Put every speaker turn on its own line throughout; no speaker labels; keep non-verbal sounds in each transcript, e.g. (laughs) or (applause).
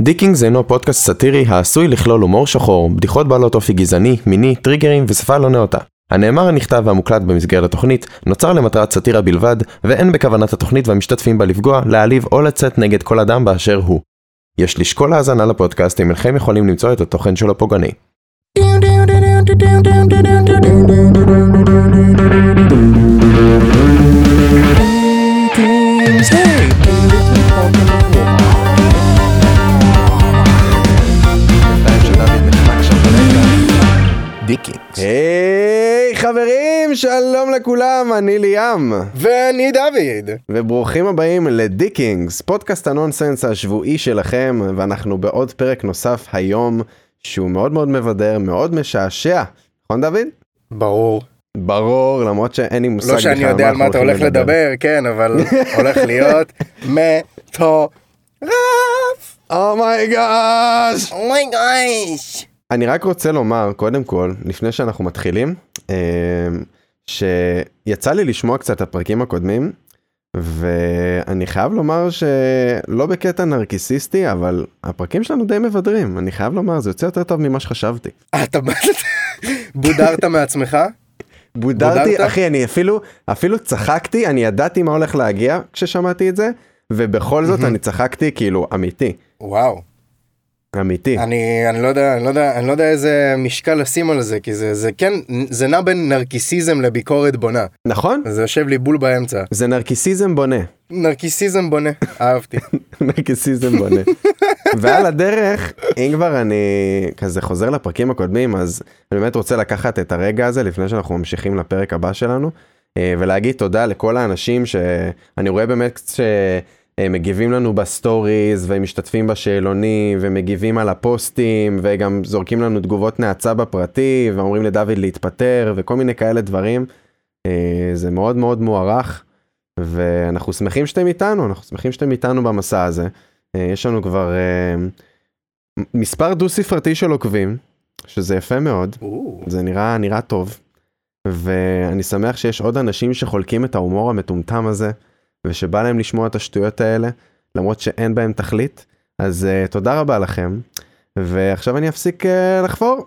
דיקינגס אינו פודקאסט סאטירי העשוי לכלול הומור שחור, בדיחות בעלות אופי גזעני, מיני, טריגרים ושפה לא נאותה. הנאמר הנכתב והמוקלט במסגרת התוכנית נוצר למטרת סאטירה בלבד, ואין בכוונת התוכנית והמשתתפים בה לפגוע, להעליב או לצאת נגד כל אדם באשר הוא. יש לשקול האזנה לפודקאסט אם אינכם יכולים למצוא את התוכן שלו פוגעני. היי חברים, שלום לכולם, אני ליאם.
ואני דוד.
וברוכים הבאים לדיקינגס, פודקאסט הנונסנס השבועי שלכם, ואנחנו בעוד פרק נוסף היום, שהוא מאוד מאוד מבדר, מאוד משעשע. נכון דוד?
ברור.
ברור, למרות שאין לי מושג
לא שאני יודע על מה אתה הולך
הולכים
לדבר, כן, (laughs) אבל הולך להיות מטורף. Oh
אומייגאש!
אומייגאש.
אני רק רוצה לומר, קודם כל, לפני שאנחנו מתחילים, אמ, שיצא לי לשמוע קצת את הפרקים הקודמים, ואני חייב לומר שלא בקטע נרקיסיסטי, אבל הפרקים שלנו די מבדרים, אני חייב לומר, זה יוצא יותר טוב ממה שחשבתי.
אתה בודרת מעצמך?
בודרתי,
בודרת?
אחי, אני אפילו, אפילו צחקתי, אני ידעתי מה הולך להגיע כששמעתי את זה, ובכל זאת אני צחקתי כאילו אמיתי,
וואו.
אמיתי.
אני אני לא יודע, אני לא יודע, אני לא יודע איזה משקל לשים על זה, כי זה זה כן, זה נע בין נרקיסיזם לביקורת בונה.
נכון?
זה יושב לי בול באמצע.
זה נרקיסיזם בונה.
נרקיסיזם בונה, (laughs) אהבתי.
נרקיסיזם בונה. ועל הדרך, אם כבר אני כזה חוזר לפרקים הקודמים, אז אני באמת רוצה לקחת את הרגע הזה לפני שאנחנו ממשיכים לפרק הבא שלנו, אה, ולהגיד תודה לכל האנשים שאני רואה באמת שמגיבים לנו בסטוריז, ומשתתפים בשאלונים, ומגיבים על הפוסטים, וגם זורקים לנו תגובות נאצה בפרטי, ואומרים לדוד להתפטר, וכל מיני כאלה דברים. אה, זה מאוד מאוד מוערך. ואנחנו שמחים שאתם איתנו, אנחנו שמחים שאתם איתנו במסע הזה. אה, יש לנו כבר אה, מ- מספר דו ספרתי של עוקבים, שזה יפה מאוד, זה נראה, נראה טוב, ואני שמח שיש עוד אנשים שחולקים את ההומור המטומטם הזה, ושבא להם לשמוע את השטויות האלה, למרות שאין בהם תכלית, אז אה, תודה רבה לכם, ועכשיו אני אפסיק אה, לחפור,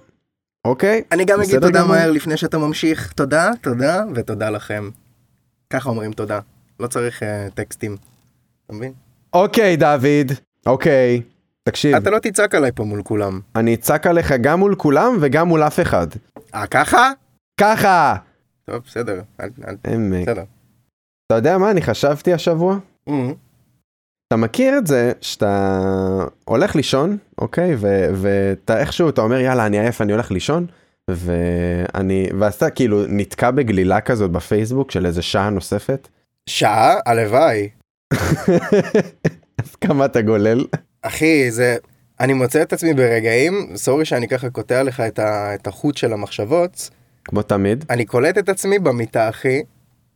אוקיי?
אני גם אגיד
בסדר
תודה
גמור.
מהר לפני שאתה ממשיך. תודה, תודה ותודה לכם. ככה אומרים תודה. לא צריך אה, טקסטים. אתה מבין?
אוקיי, דוד, אוקיי, תקשיב.
אתה לא תצעק עליי פה מול כולם.
אני אצעק עליך גם מול כולם וגם מול אף אחד.
אה, ככה?
ככה!
טוב, בסדר. אל- אל-
עמק.
בסדר.
אתה יודע מה אני חשבתי השבוע?
אמ,
אתה מכיר את זה שאתה הולך לישון, אוקיי? ו- ואתה איכשהו אתה אומר יאללה אני עייף אני הולך לישון. ואני ואז אתה כאילו נתקע בגלילה כזאת בפייסבוק של איזה שעה נוספת. (laughs)
שעה? הלוואי.
אז כמה אתה גולל?
אחי, זה... אני מוצא את עצמי ברגעים, סורי שאני ככה קוטע לך את ה- את החוט של המחשבות,
כמו תמיד.
אני קולט את עצמי במיטה, אחי,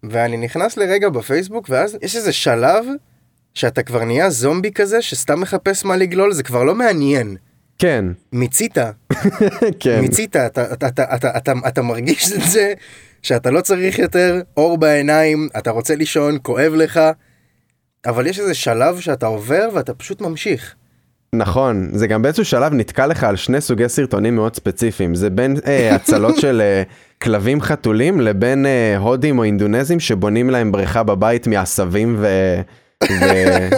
ואני נכנס לרגע בפייסבוק, ואז יש איזה שלב שאתה כבר נהיה זומבי כזה, שסתם מחפש מה לגלול, זה כבר לא מעניין.
כן, (laughs)
מיצית,
כן.
מיצית, אתה, אתה, אתה, אתה, אתה, אתה מרגיש את זה שאתה לא צריך יותר אור בעיניים, אתה רוצה לישון, כואב לך, אבל יש איזה שלב שאתה עובר ואתה פשוט ממשיך. (laughs)
נכון, זה גם באיזשהו שלב נתקע לך על שני סוגי סרטונים מאוד ספציפיים. זה בין
(laughs)
אה, הצלות של אה, כלבים חתולים לבין אה, הודים או אינדונזים שבונים להם בריכה בבית מעשבים ו...
(laughs)
ו-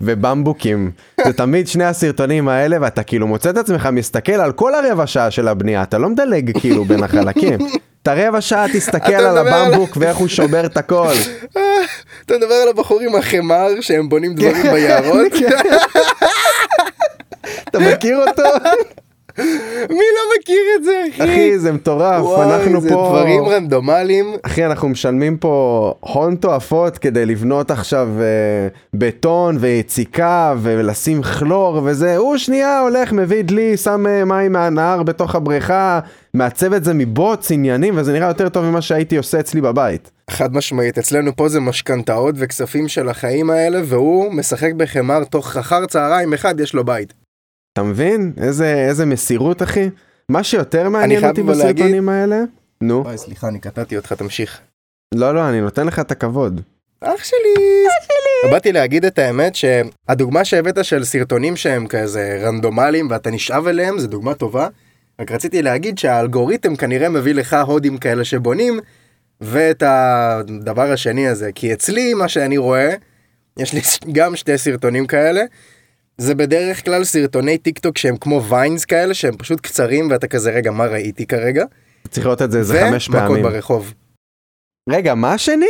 ובמבוקים. זה תמיד שני הסרטונים האלה ואתה כאילו מוצא את עצמך מסתכל על כל הרבע שעה של הבנייה, אתה לא מדלג כאילו בין החלקים. את הרבע שעה תסתכל
אתה
על
מדבר על-
הבמבוק ואיך הוא שובר את הכל.
אה, אתה מדבר על הבחור עם החמר שהם בונים דברים
כן. (laughs)
ביערות? (laughs)
אתה מכיר אותו?
מי לא מכיר את זה, אחי?
אחי זה מטורף, אנחנו
זה
פה...
דברים רנדומליים.
אחי, אנחנו משלמים פה הון תועפות כדי לבנות עכשיו אה, בטון ויציקה ולשים כלור וזה. הוא שנייה הולך, מביא דלי, שם אה, מים מהנהר בתוך הבריכה, מעצב את זה מבוץ, עניינים, וזה נראה יותר טוב ממה שהייתי עושה אצלי בבית.
חד משמעית, אצלנו פה זה משכנתאות וכספים של החיים האלה, והוא משחק בחמר תוך אחר צהריים אחד יש לו בית.
אתה מבין? איזה, איזה מסירות, אחי. מה שיותר
אני
מעניין
חייב
אותי
אבל להגיד-
בסרטונים האלה... נו,
וואי, סליחה, אני קטעתי אותך, תמשיך.
לא, לא, אני נותן לך את הכבוד.
אח שלי. אח שלי. באתי להגיד את האמת שהדוגמה שהבאת של סרטונים שהם כזה רנדומליים ואתה נשאב אליהם זה דוגמה טובה. רק רציתי להגיד שהאלגוריתם כנראה מביא לך הודים כאלה שבונים ואת הדבר השני הזה כי אצלי מה שאני רואה יש לי (laughs) גם שתי סרטונים כאלה. זה בדרך כלל סרטוני טיק טוק שהם כמו ויינס כאלה שהם פשוט קצרים ואתה כזה רגע מה ראיתי כרגע.
צריך לראות את זה איזה חמש
ומכות
פעמים.
ברחוב. (laughs)
רגע, מה השני?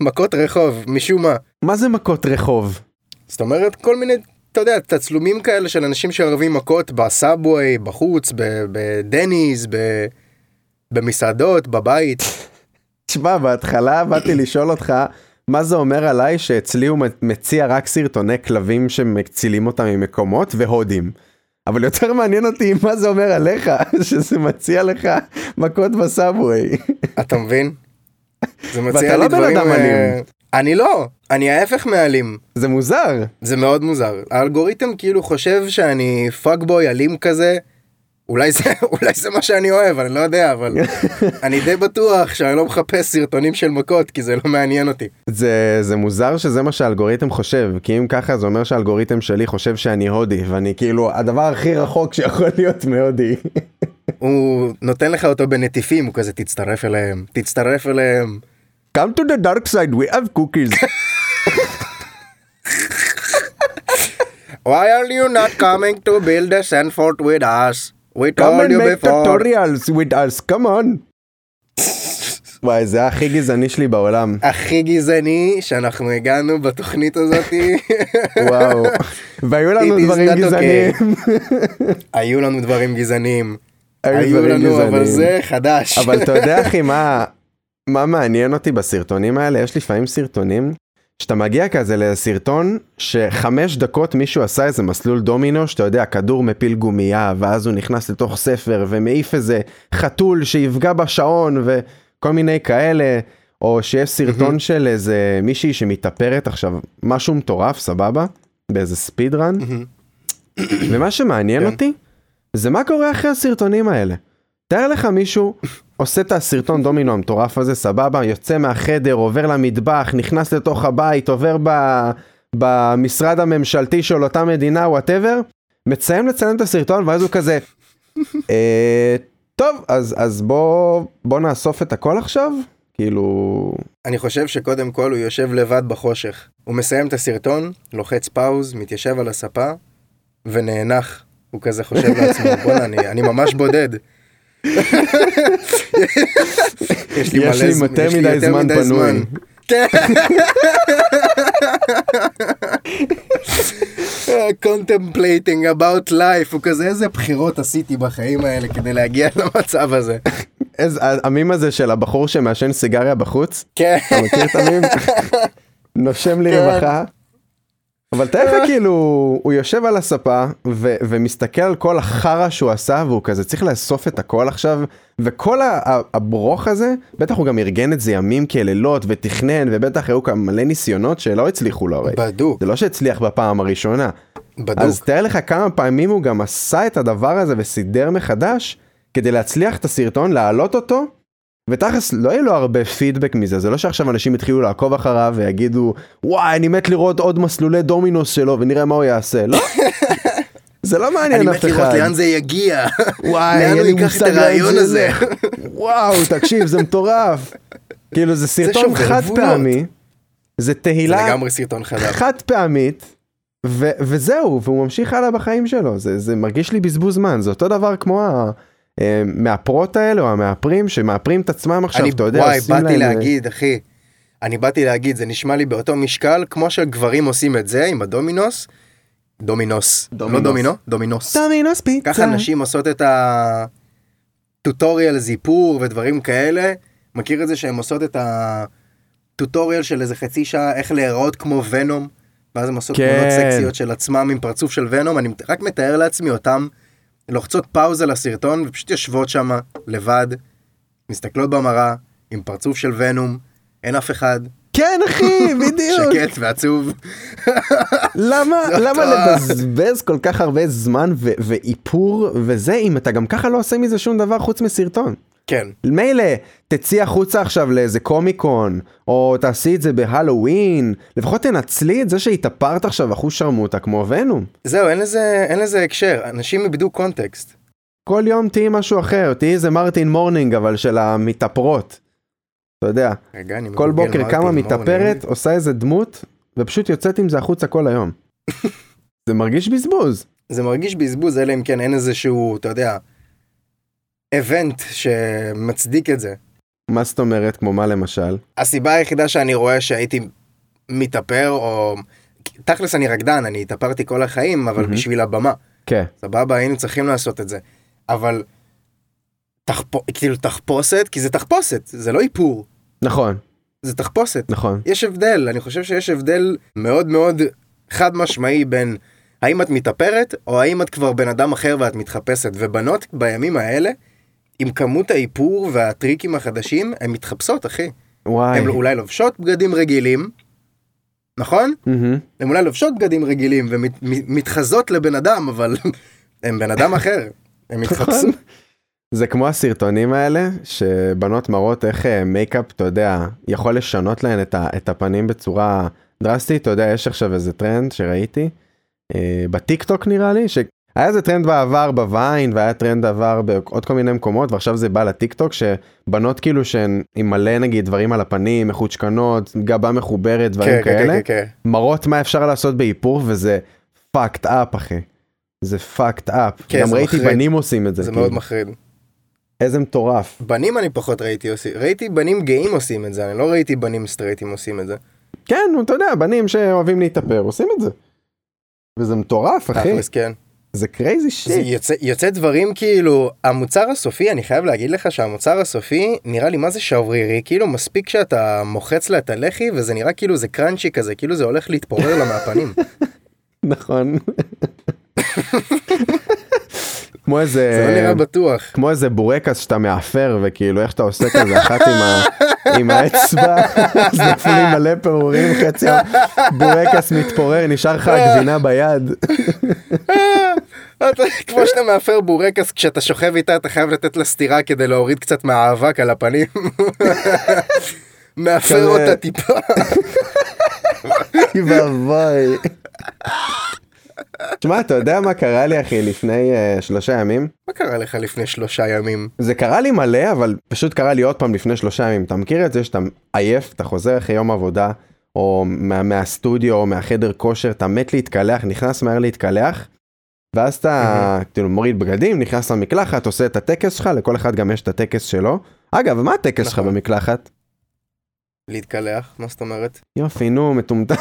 מכות רחוב משום מה.
מה זה מכות רחוב?
זאת אומרת כל מיני אתה יודע תצלומים כאלה של אנשים שערבים מכות בסאבווי בחוץ ב- בדניס ב-
(laughs)
במסעדות בבית
תשמע, בהתחלה באתי לשאול אותך, מה זה אומר עליי שאצלי הוא מציע רק סרטוני כלבים שמצילים אותם ממקומות והודים. אבל יותר מעניין אותי מה זה אומר עליך, (laughs) שזה מציע לך מכות בסאבווי. (laughs)
אתה מבין? זה
ואתה
מציע
לא
לי
בן
דברים
אדם
אה,
אלים.
אני לא אני ההפך מאלים
זה מוזר.
זה מאוד מוזר האלגוריתם כאילו חושב שאני פאקבוי אלים כזה. אולי זה (laughs) אולי זה מה שאני אוהב אני לא יודע אבל
(laughs)
אני די בטוח שאני לא מחפש סרטונים של מכות כי זה לא מעניין אותי.
זה, זה מוזר שזה מה שהאלגוריתם חושב, כי אם ככה זה אומר שהאלגוריתם שלי חושב שאני הודי, ואני כאילו הדבר הכי רחוק שיכול להיות מהודי.
הוא נותן לך אותו בנטיפים, הוא כזה תצטרף אליהם, תצטרף אליהם.
Come to the dark side, we have cookies. (laughs)
Why are you not coming to build a Sanford with us? We
Come
told
and
you
make
before.
tutorials with us, come on. וואי, זה הכי גזעני שלי בעולם.
הכי גזעני שאנחנו הגענו בתוכנית (laughs) הזאתי.
(laughs) וואו. והיו לנו
It is
דברים
not okay.
גזעניים.
היו לנו דברים גזעניים.
היו
היו
דברים
לנו, אבל
גזעניים.
זה חדש.
אבל אתה יודע אחי מה מה מעניין אותי בסרטונים האלה יש לפעמים סרטונים שאתה מגיע כזה לסרטון שחמש דקות מישהו עשה איזה מסלול דומינו שאתה יודע כדור מפיל גומייה ואז הוא נכנס לתוך ספר ומעיף איזה חתול שיפגע בשעון וכל מיני כאלה או שיש סרטון של איזה מישהי שמתאפרת עכשיו משהו מטורף סבבה באיזה ספיד רן ומה שמעניין
כן.
אותי זה מה קורה אחרי הסרטונים האלה. תאר לך מישהו עושה את הסרטון דומינו המטורף הזה סבבה יוצא מהחדר עובר למטבח נכנס לתוך הבית עובר ב... במשרד הממשלתי של אותה מדינה וואטאבר מסיים לצלם את הסרטון ואז הוא כזה אה, טוב אז אז בוא בוא נאסוף את הכל עכשיו כאילו
אני חושב שקודם כל הוא יושב לבד בחושך. הוא מסיים את הסרטון, לוחץ פאוז, מתיישב על הספה, ונאנח. הוא כזה חושב לעצמו, (laughs) בואנה, אני, אני ממש בודד. (laughs) יש לי,
יש
מלא
לי
זמן-
מתי
יש לי
מדי
יותר
זמן
מדי
פנוי.
זמן. כן. (laughs) contemplating about life, הוא כזה, איזה בחירות עשיתי בחיים האלה כדי להגיע למצב הזה. (laughs)
איזה המים הזה של הבחור שמעשן סיגריה בחוץ
כן.
אתה מכיר את המים? נושם לי
כן.
רווחה. אבל תאר לך כאילו הוא יושב על הספה ו- ומסתכל על כל החרא שהוא עשה והוא כזה צריך לאסוף את הכל עכשיו וכל ה- ה- הברוך הזה בטח הוא גם ארגן את זה ימים כלילות ותכנן ובטח היו כאן מלא ניסיונות שלא הצליחו לו הרי.
בדוק,
זה לא שהצליח בפעם הראשונה.
בדוק.
אז תאר לך כמה פעמים הוא גם עשה את הדבר הזה וסידר מחדש כדי להצליח את הסרטון, להעלות אותו, ותכלס לא יהיה לו הרבה פידבק מזה, זה לא שעכשיו אנשים יתחילו לעקוב אחריו ויגידו וואי אני מת לראות עוד מסלולי דומינוס שלו ונראה מה הוא יעשה, לא. (laughs) זה לא מעניין
אני
אף
מת
אחד.
לראות לאן זה יגיע.
וואי,
לאן
אין
הוא
לי
ייקח את
מושג לאן
הרעיון
זה
הזה?
ילך. (laughs) וואו, תקשיב, זה מטורף. כאילו זה סרטון
שובר
חד
גבולות.
פעמי, זה
זה
תהילה
לגמרי סרטון חדש.
חד פעמית, ו- וזהו, והוא ממשיך הלאה בחיים שלו, זה, זה מרגיש לי בזבוז זמן, זה אותו דבר כמו המאפרות האלה, או המאפרים, שמאפרים את עצמם עכשיו,
אני
אתה יודע,
וואי,
עושים
באתי
להם, אה,
להגיד, אחי, אני באתי להגיד, זה נשמע לי באותו משקל, כמו שגברים עושים את זה עם הדומינוס, דומינוס, לא
דומינוס.
דומינו, דומינוס.
דומינוס פיצה.
ככה נשים עושות את הטוטוריאל זיפור ודברים כאלה, מכיר את זה שהן עושות את הטוטוריאל של איזה חצי שעה, איך להיראות כמו ונום, ואז הן עושות
כן.
תמונות סקסיות של עצמם עם פרצוף של ונום, אני רק מתאר לעצמי אותם, לוחצות פאוז על הסרטון ופשוט יושבות שם לבד, מסתכלות במראה, עם פרצוף של ונום, אין אף אחד,
כן,
(laughs)
אחי, בדיוק.
שקט לא ועצוב.
למה,
זה
למה
אותו-
לבזבז כל כך הרבה זמן ו- ואיפור וזה, אם אתה גם ככה לא עושה מזה שום דבר חוץ מסרטון?
כן.
מילא, תצאי החוצה עכשיו לאיזה קומיקון, או תעשי את זה בהלואוין, לפחות תנצלי את זה שהתאפרת עכשיו אחוש שרמוטה כמו ונום.
זהו, אין לזה, אין לזה הקשר, אנשים איבדו קונטקסט.
כל יום תהיי משהו אחר, תהיי איזה מרטין מורנינג, אבל של המתאפרות. אתה יודע,
רגע, אני
כל
מגוגל
בוקר
כן, מרטין
קמה
מורנינג.
מתאפרת, עושה איזה דמות, ופשוט יוצאת עם זה החוצה כל
(laughs)
היום. זה מרגיש בזבוז.
זה מרגיש בזבוז, אלא אם כן אין איזשהו, אתה יודע, אבנט שמצדיק את זה.
מה זאת אומרת, כמו מה למשל?
הסיבה היחידה שאני רואה שהייתי מתאפר, או... תכלס אני רקדן, אני התאפרתי כל החיים, אבל
מהמם.
בשביל הבמה.
כן.
סבבה, היינו צריכים לעשות את זה. אבל... תחפו... כאילו תחפושת, כי זה תחפושת, זה לא איפור,
נכון,
זה תחפושת.
נכון.
יש הבדל, אני חושב שיש הבדל מאוד מאוד חד משמעי בין האם את מתאפרת, או האם את כבר בן אדם אחר ואת מתחפשת. ובנות בימים האלה, עם כמות האיפור והטריקים החדשים, הן מתחפשות, אחי.
וואי.
הן אולי לובשות בגדים רגילים, נכון?
מהמם.
הן אולי לובשות בגדים רגילים ומתחזות לבן אדם, אבל הן בן אדם אחר.
נכון,
הן מתחפשות.
זה כמו הסרטונים האלה, שבנות מראות איך אה, מייקאפ, אתה יודע, יכול לשנות להן את, ה, את הפנים בצורה דרסטית. אתה יודע, יש עכשיו איזה טרנד שראיתי, אה, בטיקטוק נראה לי, שהיה איזה טרנד בעבר בוויין, והיה טרנד עבר בעוד כל מיני מקומות, ועכשיו זה בא לטיקטוק, שבנות כאילו שהן עם מלא נגיד דברים על הפנים, מחוצ'קנות, גבה מחוברת, דברים
כן, כן,
כאלה.
כן, כן.
מראות מה אפשר לעשות באיפור וזה fucked up אחי. זה fucked up.
כן,
גם
זה
ראיתי
מחריד.
בנים עושים את זה.
זה
כאילו.
מאוד מחריד.
איזה מטורף.
בנים אני פחות ראיתי עושים, ראיתי בנים גאים עושים את זה, אני לא ראיתי בנים סטרייטים עושים את זה.
כן, נו, אתה יודע, בנים שאוהבים להתאפר עושים את זה. וזה מטורף אחי.
תכלס, כן.
זה קרייזי
זה
שיט.
יוצא, יוצא דברים כאילו, המוצר הסופי, אני חייב להגיד לך שהמוצר הסופי נראה לי מה זה שברירי, כאילו מספיק שאתה מוחץ לה את הלחי וזה נראה כאילו זה קראנצ'י כזה, כאילו זה הולך להתפורר לה מהפנים.
נכון. כמו
זה לא
איזה
נראה
(laughs)
בטוח.
כמו איזה בורקס שאתה מאפר וכאילו איך שאתה עושה כזה אחת עם, ה... עם האצבע אז נופלים מלא פעורים חצי בורקס מתפורר נשאר לך הגבינה ביד.
אתה- כמו שאתה מאפר בורקס, כשאתה שוכב איתה אתה חייב לתת לה סטירה כדי להוריד קצת מהאבק
(laughs)
על הפנים. מאפר
כזה-
אותה טיפה. (laughs)
אוי ואבוי. תשמע, אתה יודע מה קרה לי, אחי, לפני uh, שלושה ימים?
מה קרה לך לפני שלושה ימים?
זה קרה לי מלא, אבל פשוט קרה לי עוד פעם לפני שלושה ימים. אתה מכיר את זה שאתה עייף, אתה חוזר אחרי יום עבודה, או מה, מהסטודיו, או מהחדר כושר, אתה מת להתקלח, נכנס מהר להתקלח, ואז אתה כאילו מוריד בגדים, נכנס למקלחת, עושה את הטקס שלך, לכל אחד גם יש את הטקס שלו. אגב, מה הטקס שלך
נכון.
במקלחת?
להתקלח? מה זאת אומרת?
יופי, נו, מטומטם.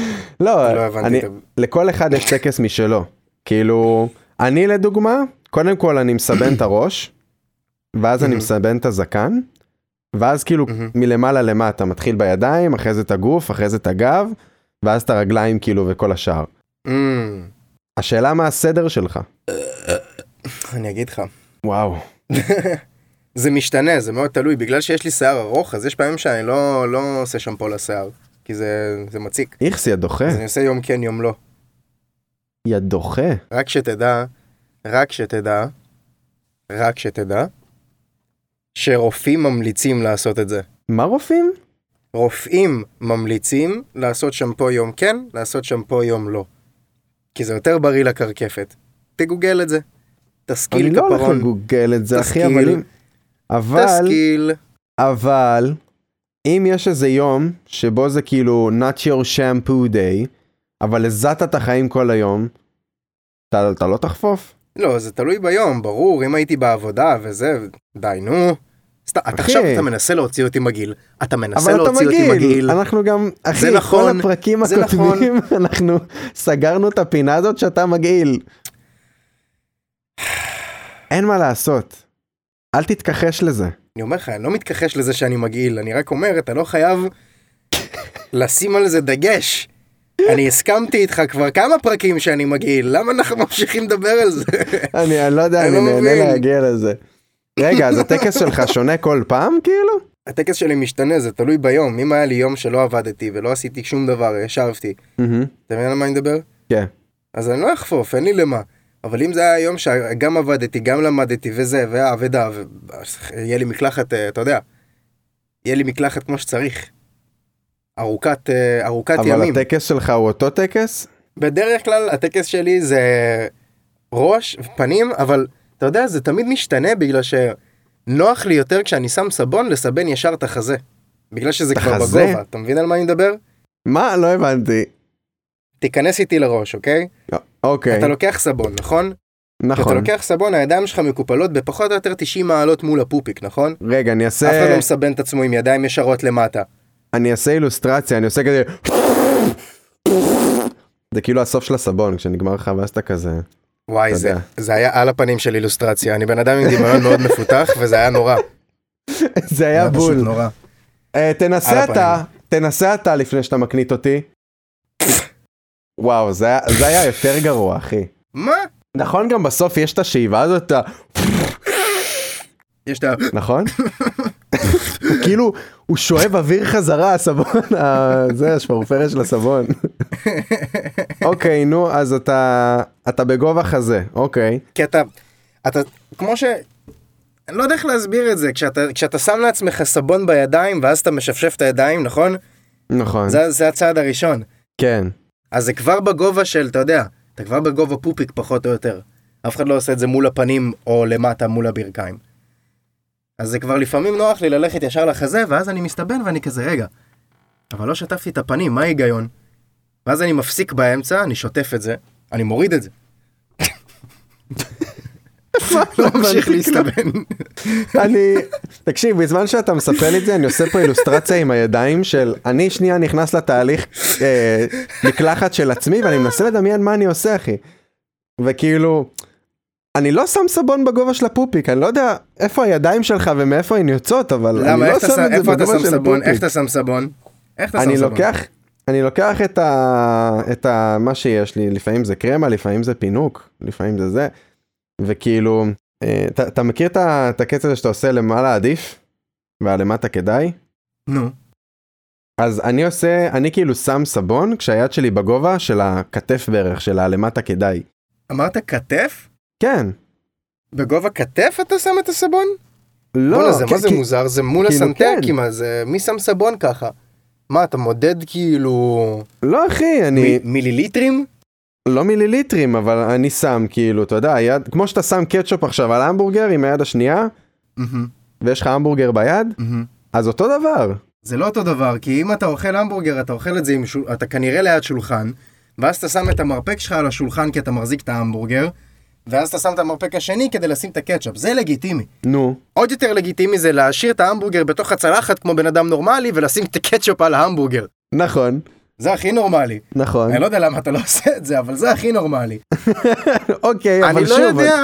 (laughs) לא,
לא הבנתי
אני-
את ה...
לכל אחד יש טקס משלו. כאילו, אני לדוגמה, קודם כל אני מסבן את הראש, ואז אני
Mhm.
מסבן את הזקן, ואז כאילו
מהמם.
מלמעלה למטה, מתחיל בידיים, אחרי זה את הגוף, אחרי זה את הגב, ואז את הרגליים כאילו וכל השאר.
אמ,
השאלה מה הסדר שלך.
אני אגיד לך.
וואו.
זה משתנה, זה מאוד תלוי. בגלל שיש לי שיער ארוך, אז יש פעמים שאני לא, לא עושה שמפו לשיער, כי זה, זה מציק.
איכס, יא דוחה.
אז אני עושה יום כן, יום לא.
יא דוחה.
רק שתדע, רק שתדע, רק שתדע, שרופאים ממליצים לעשות את זה.
מה רופאים?
רופאים ממליצים לעשות שמפו יום כן, לעשות שמפו יום לא. כי זה יותר בריא לקרקפת. תגוגל את זה.
אני
תשכיל
לא הולך
כפרון.
לגוגל את זה, אחי,
תשכיל.
אבל אם... אבל...
תשכיל.
אבל אם יש איזה יום שבו זה כאילו not your shampoo day, אבל הזעת את החיים כל היום, אתה, אתה לא תחפוף?
לא, זה תלוי ביום, ברור, אם הייתי בעבודה וזה, די, נו. סתם, אתה
אחי.
עכשיו אתה מנסה להוציא אותי מגעיל. אתה מנסה
אבל אתה
להוציא אותי מגעיל.
מגעיל, אנחנו גם, אחי,
זה נכון,
כל הפרקים
זה
הקודמים, (laughs) אנחנו סגרנו את הפינה הזאת שאתה מגעיל. אין מה לעשות, אל תתכחש לזה.
אני אומר לך, אני לא מתכחש לזה שאני מגעיל, אני רק אומר, אתה לא חייב לשים על זה דגש. אני הסכמתי איתך כבר כמה פרקים שאני מגעיל, למה אנחנו ממשיכים לדבר על זה? (laughs)
אני, אני לא יודע,
אני
אני
לא מבין.
נהנה להגיע לזה. רגע, אז הטקס שלך שונה כל פעם
(laughs)
כאילו?
הטקס שלי משתנה, זה תלוי ביום. אם היה לי יום שלא עבדתי ולא עשיתי שום דבר, ישבתי.
מהמם.
אתה מבין על מה אני מדבר?
כן.
אז אני לא אחפוף, אין לי למה. אבל אם זה היה יום שגם עבדתי, גם למדתי וזה, והעבדה, ויהיה לי מקלחת, אה, אתה יודע, יהיה לי מקלחת כמו שצריך. ארוכת, אה, ארוכת
אבל
ימים.
הטקס שלך הוא אותו טקס?
בדרך כלל הטקס שלי זה ראש ופנים אבל אתה יודע זה תמיד משתנה בגלל שנוח לי יותר כשאני שם סבון לסבן ישר את החזה. בגלל שזה
את
כבר
החזה?
בגובה אתה מבין על מה אני מדבר?
מה? לא הבנתי.
תיכנס איתי לראש אוקיי?
אוקיי,
אתה לוקח סבון נכון? אתה
נכון.
לוקח סבון הידיים שלך מקופלות בפחות או יותר 90 מעלות מול הפופיק נכון?
רגע, אני אעשה...
אף אחד לא מסבן את עצמו עם ידיים ישרות למטה.
אני אעשה אילוסטרציה, אני עושה כזה... זה כאילו הסוף של הסבון, כשנגמר לך ואז אתה כזה...
וואי
אתה
זה,
יודע.
זה היה על הפנים של אילוסטרציה אני בן אדם עם דמיון מאוד מפותח (laughs) וזה היה נורא.
זה היה
לא, פשוט
בול.
נורא.
אה,
על
תנסה
הפנים.
אתה, תנסה אתה לפני שאתה מקנית אותי. וואו, זה היה- זה היה יותר גרוע, אחי.
מה?
נכון גם בסוף יש את השאיבה הזאת, את ה-
יש את ה... (laughs)
נכון? הוא כאילו, הוא שואב אוויר חזרה, הסבון, ה- זה השפרופרת של
(laughs)
הסבון. אוקיי, נו, אז אתה אתה בגובה חזה, אוקיי.
כי אתה, אתה, כמו ש... אני לא יודע איך להסביר את זה, כשאתה, כשאתה שם לעצמך סבון בידיים ואז אתה משפשף את הידיים, נכון?
נכון,
זה, זה הצעד הראשון.
כן.
אז זה כבר בגובה של, אתה יודע, אתה כבר בגובה פופיק פחות או יותר. אף אחד לא עושה את זה מול הפנים או למטה מול הברכיים. אז זה כבר לפעמים נוח לי ללכת ישר לחזה, ואז אני מסתבן ואני כזה, רגע, אבל לא שטפתי את הפנים, מה ההיגיון? ואז אני מפסיק באמצע, אני שוטף את זה, אני מוריד את זה. (laughs) לא ממשיך להסתבן.
אני, תקשיב, בזמן שאתה מספר לי את זה, אני עושה פה אילוסטרציה עם הידיים של, אני שנייה נכנס לתהליך אה, מקלחת של עצמי, ואני מנסה לדמיין מה אני עושה, אחי. וכאילו, אני לא שם סבון בגובה של הפופיק, אני לא יודע איפה הידיים שלך ומאיפה הן יוצאות, אבל אני
למה,
לא
איך אתה
שם
שם-
את זה
איפה אתה
בגובה
שם
של
סבון? איך
הפופיק.
אתה שם סבון? איך אתה שם
אני
סבון?
לוקח, אני לוקח את ה... את ה... מה שיש לי, לפעמים זה קרמה, לפעמים זה פינוק, לפעמים זה זה, וכאילו, אה, אתה- אתה מכיר את ה- את הקטע הזה שאתה עושה למעלה עדיף, והלמטה כדאי?
נו,
אז אני עושה, אני כאילו שם סבון כשהיד שלי בגובה של הכתף בערך, של הלמטה כדאי.
אמרת כתף?
כן.
בגובה כתף אתה שם את הסבון?
לא,
בואנה זה
כי-
מה זה
כי-
מוזר זה מול
כאילו,
הסנטר
כן.
כמעט זה מי שם סבון ככה. מה אתה מודד כאילו
לא אחי, אני,
מ- מיליליטרים?
לא מיליליטרים, אבל אני שם כאילו, אתה יודע, היד, כמו שאתה שם קטשופ עכשיו על המבורגר עם היד השנייה, ויש לך המבורגר ביד, אז אותו דבר.
זה לא אותו דבר כי אם אתה אוכל המבורגר אתה אוכל את זה עם שול... אתה כנראה ליד שולחן ואז אתה שם את המרפק שלך על השולחן כי אתה מחזיק את ההמבורגר ואז אתה שם את המרפק השני כדי לשים את הקטשאפ זה לגיטימי.
נו.
עוד יותר לגיטימי זה להשאיר את ההמבורגר בתוך הצלחת כמו בן אדם נורמלי ולשים את הקטשופ על ההמבורגר.
נכון,
זה הכי נורמלי.
נכון.
אני לא יודע למה אתה לא עושה את זה אבל זה הכי נורמלי.
אוקיי, אבל
אני לא
שוב,
יודע,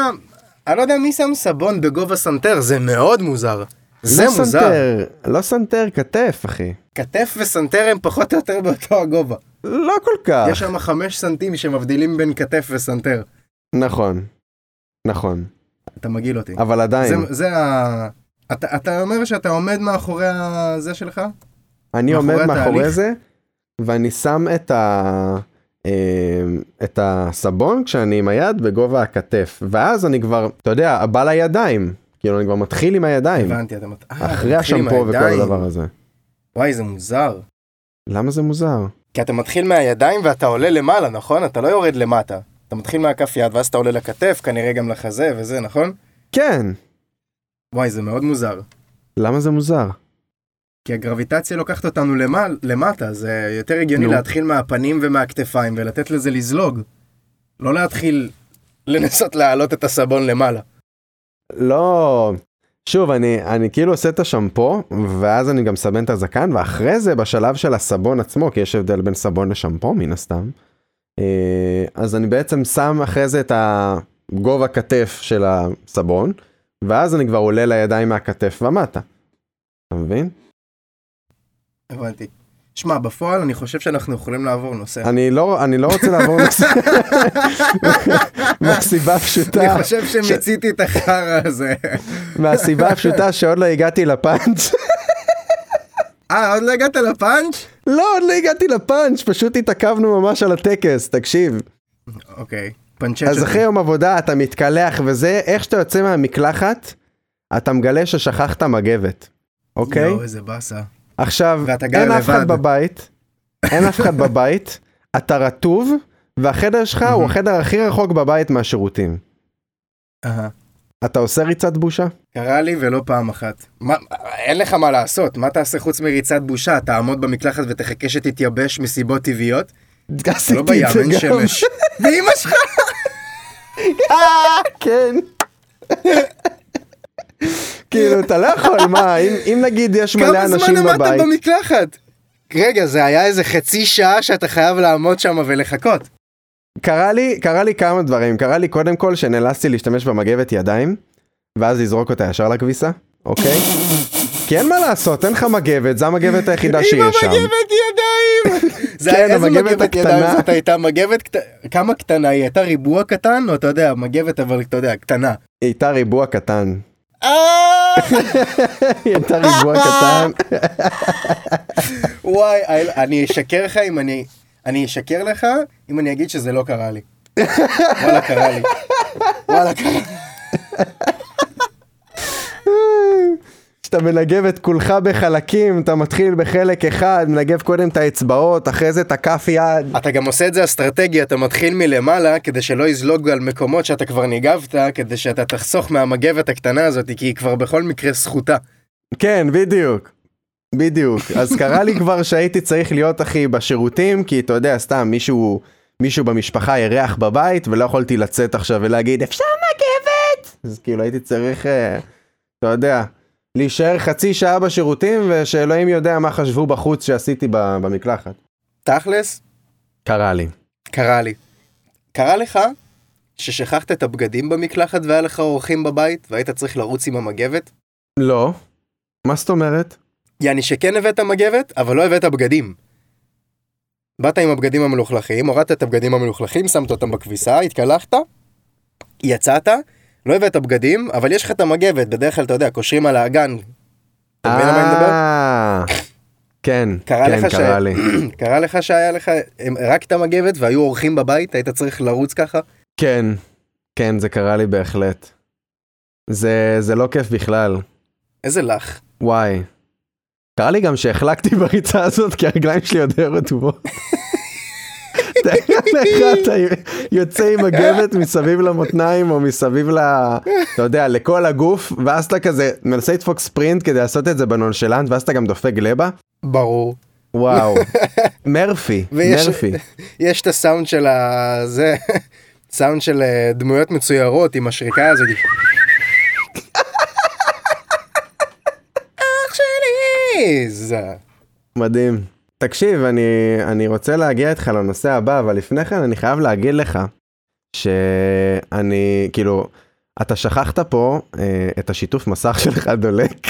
אני לא יודע מי שם סבון בגובה סנטר, זה מאוד מוזר. זה
לא
מוזר.
סנטר, לא סנטר, כתף, אחי.
כתף וסנטר הם פחות או יותר באותו הגובה.
לא כל כך.
יש שם חמש סנטים שמבדילים בין כתף וסנטר.
נכון, נכון,
אתה מגעיל אותי.
אבל עדיין,
זה- זה ה... אתה, אתה אומר שאתה עומד מאחורי הזה שלך?
אה, אני עומד
מאחורי
מאחורי
התהליך?
זה, ואני שם את ה... אמ, את הסבון כשאני עם היד בגובה הכתף ואז אני כבר אתה יודע בא לידיים כאילו אני כבר מתחיל עם הידיים
הבנתי, אתה מת... אה, אתה
אחרי
מתחיל עם
השמפו וכל
הידיים.
הדבר הזה
וואי, זה מוזר.
למה זה מוזר
כי אתה מתחיל מהידיים ואתה עולה למעלה, נכון? אתה לא יורד למטה. אתה מתחיל מהכף יד ואז אתה עולה לכתף, כנראה גם לחזה וזה, נכון?
כן
וואי, זה מאוד מוזר.
למה זה מוזר
כי הגרביטציה לוקחת אותנו למעל, למטה, זה יותר הגיוני
נו.
נו. להתחיל מהפנים ומהכתפיים ולתת לזה לזלוג. לא להתחיל לנסות להעלות את הסבון למעלה.
לא, שוב, אני, אני כאילו עושה את השמפו, ואז אני גם מסבן את הזקן, ואחרי זה בשלב של הסבון עצמו, כי יש הבדל בין סבון לשמפו מן הסתם, אה, אז אני בעצם שם אחרי זה את הגובה כתף של הסבון, ואז אני כבר עולה לידיים מהכתף ומטה. אתה מבין?
כן. הבנתי. שמע, בפועל אני חושב שאנחנו יכולים לעבור נושא.
אני לא, אני לא רוצה לעבור נושא,
(laughs)
מהסיבה הפשוטה,
אני חושב שמיציתי את החרא
(laughs)
הזה.
מהסיבה הפשוטה שעוד לא הגעתי לפאנץ'.
אה, עוד לא הגעת לפאנץ'?
לא, עוד לא הגעתי לפאנץ', פשוט התעכבנו ממש על הטקס, תקשיב.
אוקיי. פנצ'ט
אז אחרי יום עבודה אתה מתקלח וזה, איך שאתה יוצא מהמקלחת, אתה מגלה ששכחת מגבת, אוקיי?
יואו, איזה באסה.
עכשיו,
לא, ואתה גר
אין אף אחד
לבד.
בבית, אין אף אחד
(laughs)
בבית, אתה רטוב, והחדר שלך הוא החדר הכי רחוק בבית מהשירותים.
אהה.
אתה עושה ריצת
(laughs)
בושה?
קרה לי ולא פעם אחת. מה, אין לך מה לעשות, מה תעשה חוץ מריצת בושה? תעמוד במקלחת ותחכה שתתייבש מסיבות טבעיות?
עשיתי
לא
את
בים,
זה
אין
גם.
(laughs) שמש. ואימא שלך?
אה,
(laughs)
כן. כאילו, אתה לא יכול, מה, אם אם נגיד יש מלא
כמה זמן
אנשים
עמדת
בבית,
במקלחת? רגע, זה היה איזה חצי שעה שאתה חייב לעמוד שם ולחכות.
קרה לי, קרה לי כמה דברים, קרה לי קודם כל שנאלצתי להשתמש במגבת ידיים, ואז לזרוק אותה ישר לכביסה, אוקיי? כי אין מה לעשות, אין לך מגבת, זו המגבת היחידה שיש שם.
מגבת ידיים! (laughs) זה
כן,
היה איזה
המגבת
מגבת
הקטנה.
ידיים זאת הייתה מגבת קט- כמה קטנה היא הייתה ריבוע קטן או אתה יודע מגבת אבל אתה יודע קטנה.
היא הייתה ריבוע קטן. (laughs)
אה,
היא הייתה ריבוע קטן.
(laughs) וואי אל- אני אשקר לך אם אני אני אשקר לך אם אני אגיד שזה לא
(laughs)
קרה לי. וואלה קרה לי. וואלה קרה לי.
כשאתה מנגב את כולך בחלקים, אתה מתחיל בחלק אחד, מנגב קודם את האצבעות, אחרי זה את הכף יד.
אתה גם עושה את זה אסטרטגי אתה מתחיל מלמעלה כדי שלא יזלוג על מקומות שאתה כבר ניגבת כדי שאתה תחסוך מהמגבת הקטנה הזאת כי היא כבר בכל מקרה זכותה.
כן, בדיוק. בדיוק. אז קרה לי כבר שהייתי צריך להיות, אחי, בשירותים, כי אתה יודע, סתם, מישהו, מישהו במשפחה אירח בבית, ולא יכולתי לצאת עכשיו ולהגיד, אפשר מגבת! אז כאילו הייתי צריך, אה, אתה יודע, להישאר חצי שעה בשירותים, ושאלוהים יודע מה חשבו בחוץ שעשיתי ב- במקלחת.
תכלס
קרה לי.
קרה לי. קרה לך ששכחת את הבגדים במקלחת והיה לך אורחים בבית והיית צריך לרוץ עם המגבת?
לא. מה זאת אומרת?
יעני שכן הבאת מגבת, אבל לא הבאת בגדים. באת עם הבגדים המלוכלכים, הורדת את הבגדים המלוכלכים, שמת אותם בכביסה, התקלחת, יצאת, לא הבאת בגדים, אבל יש לך את המגבת, בדרך כלל אתה יודע, קושרים על האגן. אתה מבין על מה אני מדבר?
אה, כן,
קרה
כן,
לך ש-
קרה לי.
קרה לך שהיה לך הם- רק את המגבת והיו אורחים בבית, היית צריך לרוץ ככה?
כן, כן, זה קרה לי בהחלט. זה, זה לא כיף בכלל,
איזה לך.
וואי. קרה לי גם שהחלקתי (laughs) בריצה הזאת כי הרגליים שלי עוד היו רטובות. תאר לך, אתה יוצא עם מגבת מסביב למותניים או מסביב ל... אתה יודע, לכל הגוף, ואז אתה כזה מנסה לדפוק ספרינט כדי לעשות את זה בנונשלנט, ואז אתה גם דופק גלבה.
ברור.
וואו. מרפי,
ויש-
מרפי.
יש את הסאונד של ה... זה... (laughs) סאונד של אה, דמויות מצוירות עם השריקה הזאת. אח שלי! זה-
מדהים. תקשיב, אני, אני רוצה להגיע איתך לנושא הבא, אבל לפני כן אני חייב להגיד לך שאני, כאילו, אתה שכחת פה אה, את השיתוף מסך שלך דולק, (laughs)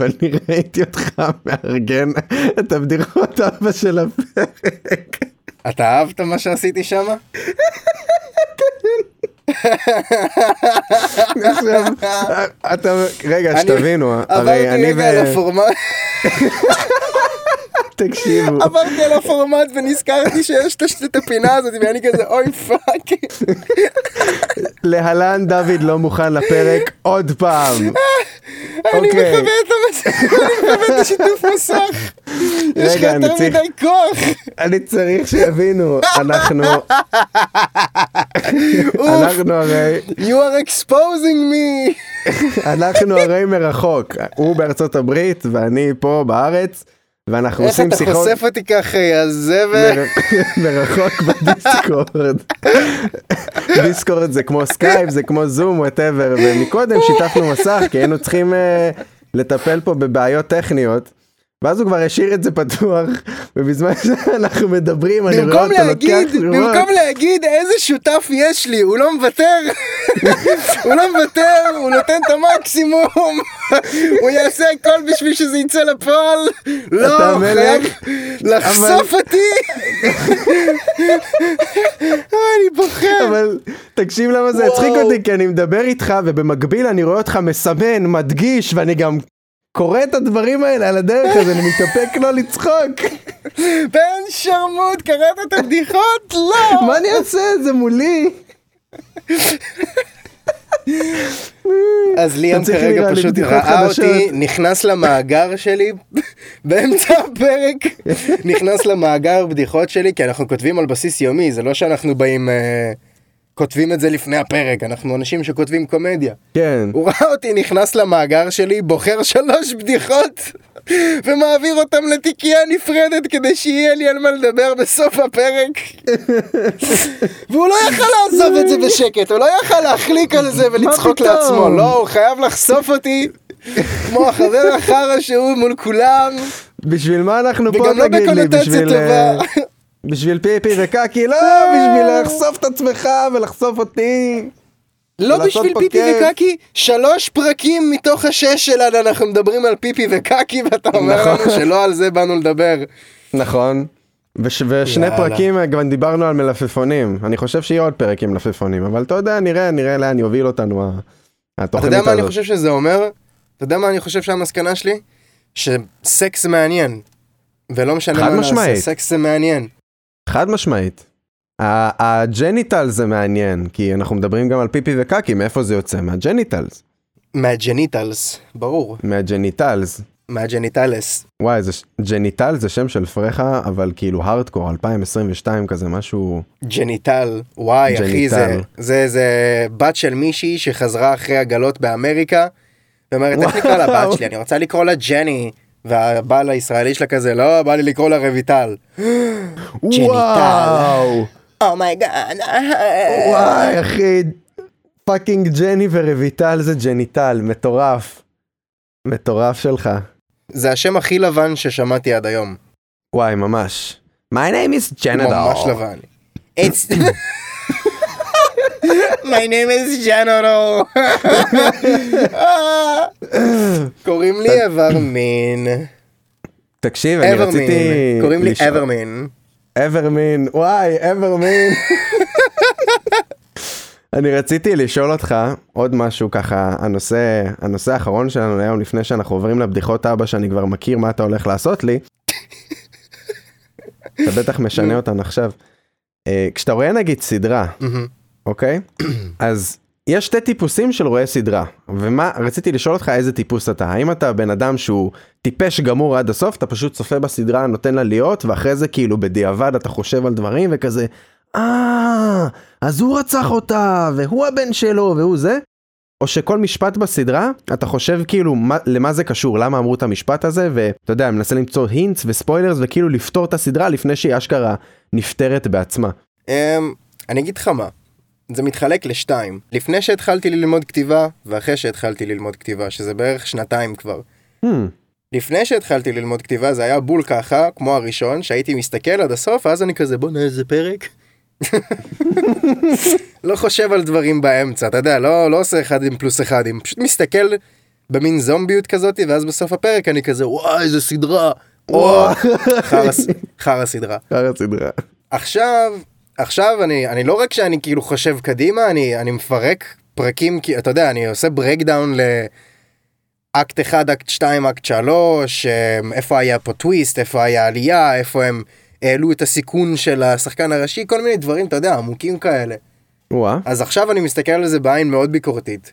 ואני ראיתי אותך מארגן את הבדיחות אבא של
(laughs)
הפרק.
אתה אהבת מה שעשיתי שם?
עכשיו, אתה, רגע, שתבינו, הרי
עברתי
אני ו...
רגע
(laughs)
על הפורמט, (laughs)
תקשיבו.
עברתי על הפורמט ונזכרתי שיש את הש- את הפינה הזאת ואני כזה אוי פאק.
להלן דוד לא מוכן לפרק עוד פעם.
(laughs) אני
אוקיי.
מכבה את המסך, (laughs) אני מכבה את השיתוף מסך. יש לך
רגע, אני
יותר
צריך-
מדי כוח.
אני צריך שיבינו, אנחנו,
אוף,
אנחנו הרי,
you are exposing me.
אנחנו הרי מרחוק, הוא בארצות הברית ואני פה בארץ, ואנחנו
איך
עושים
אתה
שיחות
חושף אותי ככה, יא זבל?
מר- (laughs) מרחוק בדיסקורד. דיסקורד זה כמו סקייפ, זה כמו זום, וואטאבר, ומקודם שיתפנו מסך כי היינו צריכים אה, לטפל פה בבעיות טכניות. ואז הוא כבר השאיר את זה פתוח, ובזמן שאנחנו מדברים, אני רואה
במקום
אותו לוקח
להגיד,
תמונות.
במקום להגיד איזה שותף יש לי, הוא לא מוותר, הוא לא מוותר, הוא נותן את המקסימום, הוא יעשה הכל בשביל שזה יצא לפועל, לא,
אתה
הוא
מלך,
חייב לחשוף
(laughs)
אותי. אה, אני בוחר.
אבל תקשיב למה זה הצחיק
וואו.
אותי, כי אני מדבר איתך, ובמקביל אני רואה אותך מסמן, מדגיש, ואני גם קורא את הדברים האלה על הדרך, אז אני מתאפק לא
(laughs)
לצחוק.
בן שרמוט, קראת את הבדיחות? לא.
מה אני אעשה? זה מולי.
אז ליאם
צריך
כרגע
נראה לי
פשוט
בדיחות
ראה
חדשות.
אותי, נכנס למאגר שלי (laughs) באמצע הפרק, נכנס למאגר בדיחות שלי, כי אנחנו כותבים על בסיס יומי, זה לא שאנחנו באים, אה, כותבים את זה לפני הפרק, אנחנו אנשים שכותבים קומדיה.
כן.
הוא ראה אותי נכנס למאגר שלי, בוחר שלוש בדיחות, ומעביר אותם לתיקייה נפרדת כדי שיהיה לי על מה לדבר בסוף הפרק. והוא לא יכל לעזוב את זה בשקט, הוא לא יכל להחליק על זה ולצחוק
פתאום?
לעצמו, לא, הוא חייב לחשוף אותי. כמו החבר החרא שהוא מול כולם,
בשביל מה אנחנו פה
וגם לא
תגיד לי?
בקונוטציה
בשביל... אה,
טובה. אה.
בשביל פיפי וקקי?
(laughs)
לא, בשביל לחשוף את עצמך ולחשוף אותי.
לא
לעשות
בשביל
פה
פיפי
כיף.
וקקי, שלוש פרקים מתוך השש שלנו אנחנו מדברים על פיפי וקקי ואתה אומר
נכון.
לנו שלא על זה באנו לדבר.
נכון. וש- ושני
יאללה.
פרקים אה, גם דיברנו על מלפפונים. אני חושב שיהיה עוד פרק עם מלפפונים, אבל אתה יודע, נראה, נראה לאן יוביל אותנו ה-
אתה
התוכנית
יודע
הזאת.
מה אני חושב שזה אומר? אתה יודע מה אני חושב שהמסקנה שלי? שסקס מעניין. ולא משנה
חד
מה
משמעית.
נעשה, סקס זה מעניין.
חד משמעית. ה- הג'ניטל זה מעניין, כי אנחנו מדברים גם על פיפי וקקי, מאיפה זה יוצא? מהג'ניטלס.
מהג'ניטלס, ברור.
מהג'ניטלס.
מהג'ניטלס.
וואי, זה ש- ג'ניטל זה שם של פרחה, אבל כאילו הארדקור, 2022 כזה, משהו...
ג'ניטל. וואי, אחי, זה,
ג'ניטל.
זה, זה בת של מישהי שחזרה אחרי עגלות באמריקה. ואומרת, איך
וואו.
נקרא לבת שלי? אני רוצה לקרוא לה ג'ני. והבעל הישראלי שלה כזה, לא, בא לי לקרוא לה רויטל. "Oh ג'ניטל.
וואו!
אומייגאד.
וואי, אחי, פאקינג ג'ני ורויטל זה ג'ניטל, מטורף. מטורף שלך.
זה השם הכי לבן ששמעתי עד היום.
וואי, ממש. My name is ג'נדל.
ממש לבן. It's... My name is general. קוראים לי אברמין.
תקשיב, אני רציתי...
אברמין. קוראים לי
לשאול-
אברמין.
אברמין, וואי, אברמין. אני רציתי לשאול אותך עוד משהו ככה, הנושא, הנושא האחרון שלנו היום לפני שאנחנו עוברים לבדיחות אבא שאני כבר מכיר מה אתה הולך לעשות לי. אתה בטח משנה אותן עכשיו. אה, כשאתה רואה נגיד סדרה,
מהמם.
אוקיי? אז יש שתי טיפוסים של רואי סדרה, ומה, רציתי לשאול אותך איזה טיפוס אתה, האם אתה בן אדם שהוא טיפש גמור עד הסוף, אתה פשוט צופה בסדרה, נותן לה להיות, ואחרי זה כאילו בדיעבד אתה חושב על דברים וכזה, אה, אז הוא רצח אותה, והוא הבן שלו, והוא זה, או שכל משפט בסדרה, אתה חושב כאילו מה, למה זה קשור, למה אמרו את המשפט הזה, ואתה יודע, מנסה למצוא הינטס וספוילרס, וכאילו לפתור את הסדרה לפני שהיא אשכרה נפטרת בעצמה.
אמ, אני אגיד לך מה. זה מתחלק לשתיים. לפני שהתחלתי ללמוד כתיבה, ואחרי שהתחלתי ללמוד כתיבה, שזה בערך שנתיים כבר.
Hmm.
לפני שהתחלתי ללמוד כתיבה זה היה בול ככה, כמו הראשון, שהייתי מסתכל עד הסוף, ואז אני כזה בואנה איזה פרק. (laughs) לא חושב על דברים באמצע, אתה יודע, לא, לא עושה אחד עם פלוס אחד, אני פשוט מסתכל במין זומביות כזאת, ואז בסוף הפרק אני כזה וואי איזה סדרה. וואו, חרא ס- חרא סדרה.
אחר הסדרה.
עכשיו, עכשיו אני, אני לא רק שאני כאילו חושב קדימה, אני, אני מפרק פרקים, כי אתה יודע, אני עושה ברקדאון לאקט 1, אקט 2, אקט 3, אמ, איפה היה פה טוויסט, איפה היה עלייה, איפה הם העלו את הסיכון של השחקן הראשי, כל מיני דברים, אתה יודע, עמוקים כאלה.
וואה.
אז עכשיו אני מסתכל על זה בעין מאוד ביקורתית.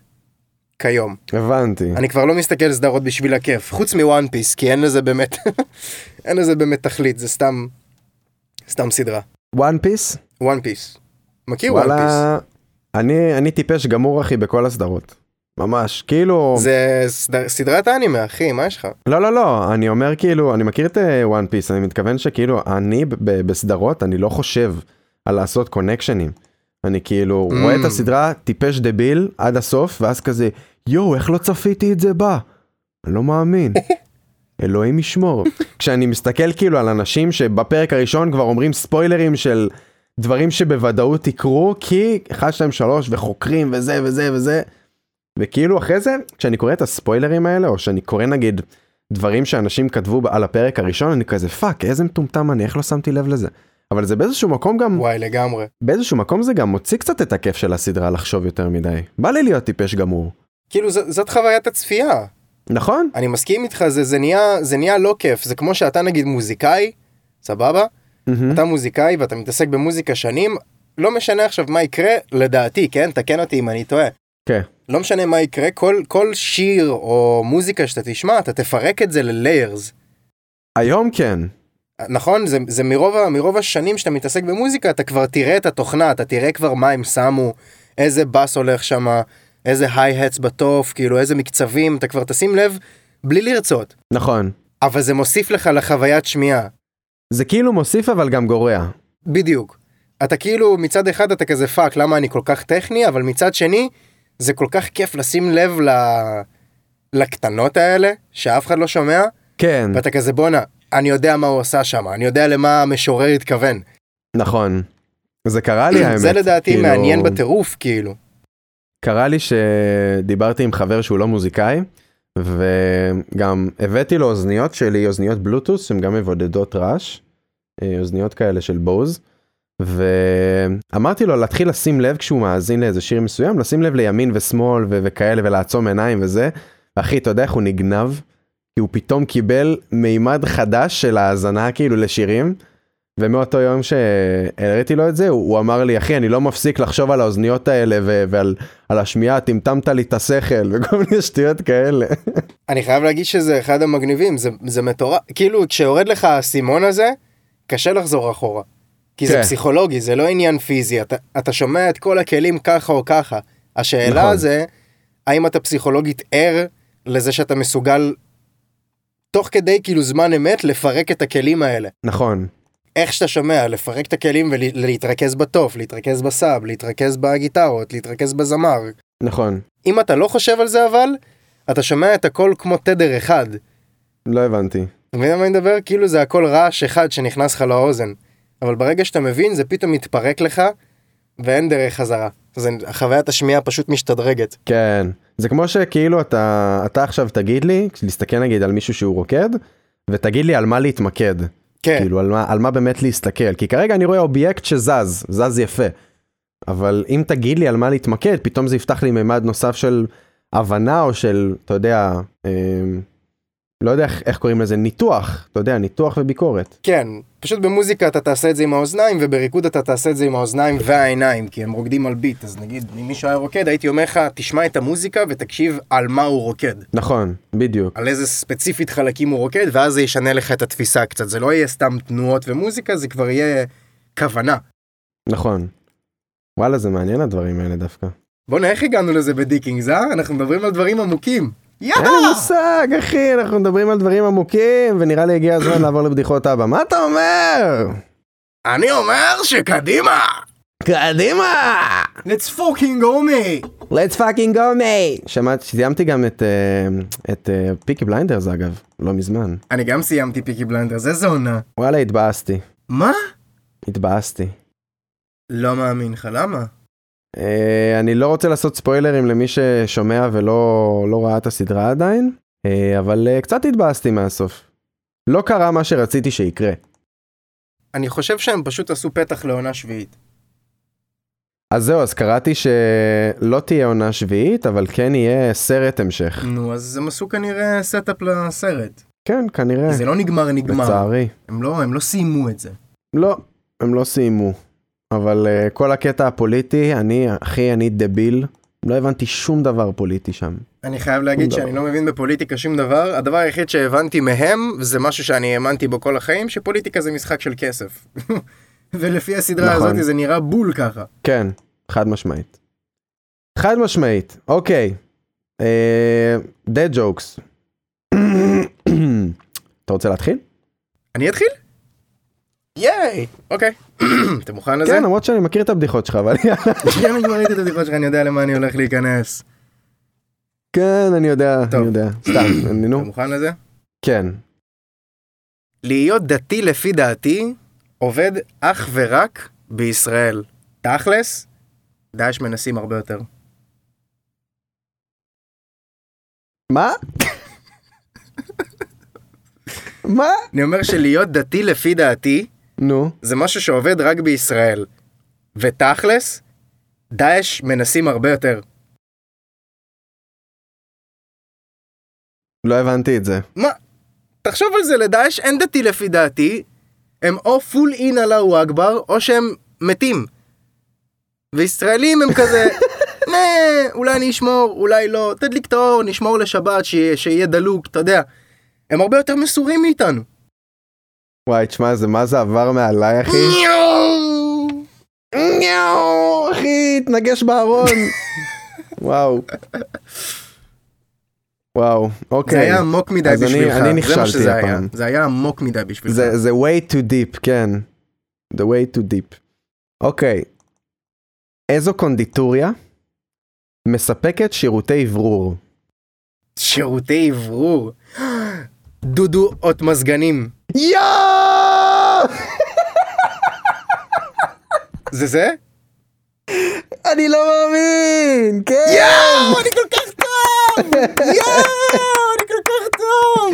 כיום.
הבנתי.
אני כבר לא מסתכל סדרות בשביל הכיף, חוץ מוואן פיס, כי אין לזה באמת, (laughs) אין לזה באמת תכלית, זה סתם, סתם סדרה.
וואן פיס?
וואן פיס. מכיר וואן פיס?
וואלה. אני אני טיפש גמור אחי בכל הסדרות. ממש כאילו
זה סד- סדרת אנימה אחי מה יש לך?
לא לא לא אני אומר כאילו אני מכיר את וואן פיס אני מתכוון שכאילו אני ב- ב- בסדרות אני לא חושב על לעשות קונקשנים. אני כאילו
Mm.
רואה את הסדרה טיפש דביל עד הסוף ואז כזה יואו איך לא צפיתי את זה בא. אני לא
(laughs)
מאמין. אלוהים ישמור. כשאני מסתכל כאילו על אנשים שבפרק הראשון כבר אומרים ספוילרים של דברים שבוודאות יקרו כי 1, 2, 3 וחוקרים וזה וזה וזה. וכאילו אחרי זה כשאני קורא את הספוילרים האלה או שאני קורא נגיד דברים שאנשים כתבו על הפרק הראשון אני כזה פאק איזה מטומטם אני איך לא שמתי לב לזה. אבל זה באיזשהו מקום גם
וואי לגמרי.
באיזשהו מקום זה גם מוציא קצת את הכיף של הסדרה לחשוב יותר מדי. בא לי להיות טיפש גמור.
כאילו ז- זאת חוויית הצפייה.
נכון?
אני מסכים איתך זה, זה, נהיה, זה נהיה לא כיף זה כמו שאתה נגיד מוזיקאי סבבה
מהמם.
אתה מוזיקאי ואתה מתעסק במוזיקה שנים לא משנה עכשיו מה יקרה, לדעתי, כן? תקן אותי אם אני טועה.
כן.
לא משנה מה יקרה, כל, כל שיר או מוזיקה שאתה תשמע, אתה תפרק את זה לליירס.
היום כן.
נכון? זה, זה מרוב, ה- מרוב השנים שאתה מתעסק במוזיקה, אתה כבר תראה את התוכנה, אתה תראה כבר מה הם שמו, איזה בס הולך שם, איזה היי-האטס בטוף, כאילו איזה מקצבים, אתה כבר תשים לב בלי לרצות.
נכון.
אבל זה מוסיף לך לחוויית שמיעה.
זה כאילו מוסיף אבל גם גורע.
בדיוק. אתה כאילו מצד אחד אתה כזה פאק למה אני כל כך טכני אבל מצד שני זה כל כך כיף לשים לב ל... לקטנות האלה שאף אחד לא שומע
כן,
ואתה כזה בואנה אני יודע מה הוא עשה שם אני יודע למה המשורר התכוון.
נכון. זה קרה לי האמת.
(clears throat) זה לדעתי
כאילו,
מעניין בטירוף כאילו.
קרה לי שדיברתי עם חבר שהוא לא מוזיקאי, וגם הבאתי לו אוזניות שלי, אוזניות בלוטוס, שהן גם מבודדות רעש, אה, אוזניות כאלה של בוז, ואמרתי לו להתחיל לשים לב כשהוא מאזין לאיזה שיר מסוים, לשים לב לימין ושמאל ו- וכאלה ולעצום עיניים וזה, אחי, אתה יודע איך הוא נגנב? כי הוא פתאום קיבל מימד חדש של האזנה כאילו לשירים. ומאותו יום שהראיתי לו את זה, הוא, הוא אמר לי, אחי, אני לא מפסיק לחשוב על האוזניות האלה ו- ועל על השמיעה, טמטמת לי את השכל (laughs) וכל מיני שטויות כאלה.
אני חייב להגיד שזה אחד המגניבים זה, זה מטורף כאילו כשיורד לך האסימון הזה קשה לחזור אחורה. כי זה
כן.
פסיכולוגי זה לא עניין פיזי אתה, אתה שומע את כל הכלים ככה או ככה השאלה
נכון.
נכון. זה האם אתה פסיכולוגית ער לזה שאתה מסוגל תוך כדי כאילו זמן אמת לפרק את הכלים האלה
נכון, איך?
איך שאתה שומע לפרק את הכלים ולהתרכז בטוף להתרכז בסאב להתרכז בגיטרות להתרכז בזמר
נכון,
אם אתה לא חושב על זה אבל אתה שומע את הכל כמו תדר אחד.
לא הבנתי.
אתה מבין על מה אני מדבר? כאילו זה הכל רעש אחד שנכנס לך לאוזן. אבל ברגע שאתה מבין זה פתאום מתפרק לך ואין דרך חזרה. זה חוויית השמיעה פשוט משתדרגת.
כן, זה כמו שכאילו אתה, אתה עכשיו תגיד לי, להסתכל נגיד על מישהו שהוא רוקד, ותגיד לי על מה להתמקד,
כן,
כאילו על מה, על מה באמת להסתכל, כי כרגע אני רואה אובייקט שזז, זז יפה. אבל אם תגיד לי על מה להתמקד, פתאום זה יפתח לי מימד נוסף של הבנה או של, אתה יודע, אמ, לא יודע איך, איך קוראים לזה, ניתוח, אתה יודע, ניתוח וביקורת.
כן. פשוט במוזיקה אתה תעשה את זה עם האוזניים ובריקוד אתה תעשה את זה עם האוזניים והעיניים כי הם רוקדים על ביט אז נגיד אם מישהו היה רוקד הייתי אומר לך תשמע את המוזיקה ותקשיב על מה הוא רוקד.
נכון, בדיוק.
על איזה ספציפית חלקים הוא רוקד ואז זה ישנה לך את התפיסה קצת זה לא יהיה סתם תנועות ומוזיקה זה כבר יהיה כוונה.
נכון. וואלה, זה מעניין הדברים האלה דווקא.
בואנה איך הגענו לזה בדיקינגס אה? אנחנו מדברים על דברים עמוקים. יאה!
אין לי מושג, אחי, אנחנו מדברים על דברים עמוקים, ונראה לי הגיע הזמן לעבור לבדיחות אבא. מה אתה אומר?
אני אומר שקדימה!
קדימה!
Let's fucking go me!
let's fucking go mate. שמעת, סיימתי גם את, אה, את אה, פיקי בליינדרס אגב, לא מזמן.
אני גם סיימתי פיקי בלנדרס, איזה עונה.
וואלה, התבאסתי,
מה?
התבאסתי.
לא מאמין לך, למה?
אה, אני לא רוצה לעשות ספוילרים למי ששומע ולא לא ראה את הסדרה עדיין, אה, אבל אה, קצת התבאסתי מהסוף. לא קרה מה שרציתי שיקרה.
אני חושב שהם פשוט עשו פתח לעונה שביעית.
אז זהו, אז קראתי שלא תהיה עונה שביעית, אבל כן יהיה סרט המשך.
נו, אז הם עשו כנראה סטאפ לסרט.
כן, כנראה,
זה לא נגמר נגמר.
לצערי.
הם לא, הם לא סיימו את זה.
לא, הם לא סיימו. אבל uh, כל הקטע הפוליטי, אני, אחי, אני דביל. לא הבנתי שום דבר פוליטי שם.
אני חייב להגיד
שום
שאני לא מבין בפוליטיקה שום דבר. הדבר היחיד שהבנתי מהם, וזה משהו שאני האמנתי בו כל החיים, שפוליטיקה זה משחק של כסף. (laughs) ולפי הסדרה
נכון.
הזאת זה נראה בול ככה.
כן, חד משמעית. חד משמעית, אוקיי. אה, דד ג'וקס. (coughs) אתה רוצה להתחיל?
אני אתחיל? ייי! אוקיי. (clears throat) אתה מוכן לזה? (laughs)
כן, אוקיי. למרות שאני מכיר את הבדיחות שלך, אבל
כן, אני כבר ראיתי את הבדיחות שלך, אני יודע למה אני הולך להיכנס.
(laughs)
(clears throat)
כן, אני יודע,
טוב.
אני יודע. (coughs) סתם, אני
אתה
נו.
מוכן לזה?
כן.
להיות דתי לפי דעתי עובד אך ורק בישראל. תכלס, דאעש מנסים הרבה יותר.
(coughs) מה? מה?
אני אומר שלהיות דתי לפי דעתי
נו.
זה משהו שעובד רק בישראל. ותכלס, דאעש מנסים הרבה יותר.
לא הבנתי את זה.
מה? תחשוב על זה, לדאעש אין דתי לפי דעתי, הם או פול אין אללהו אכבר, או שהם מתים. וישראלים הם
(laughs)
כזה, "נה, אולי אני אשמור, אולי לא, תדליק את האור, נשמור לשבת, שיהיה, שיהיה דלוק, אתה יודע. הם הרבה יותר מסורים מאיתנו.
וואי, תשמע, זה מה זה עבר מעליי, אחי?
ניאו!
ניאו, אחי, התנגש בארון. וואו. וואו,
זה
אוקיי.
היה עמוק מדי
אז אני-
בשבילך,
אני
זה מה
נכשלתי
שזה היה,
הפעם.
זה היה עמוק מדי בשבילך.
זה זה way too deep, כן. The way too deep. אוקיי. איזו קונדיטוריה מספקת שירותי אוורור?
שירותי אוורור. דודו אות מזגנים.
יואו!
זה זה?
אני לא מאמין! כן!
יואו, אני כל כך טוב! יואו, אני כל כך טוב!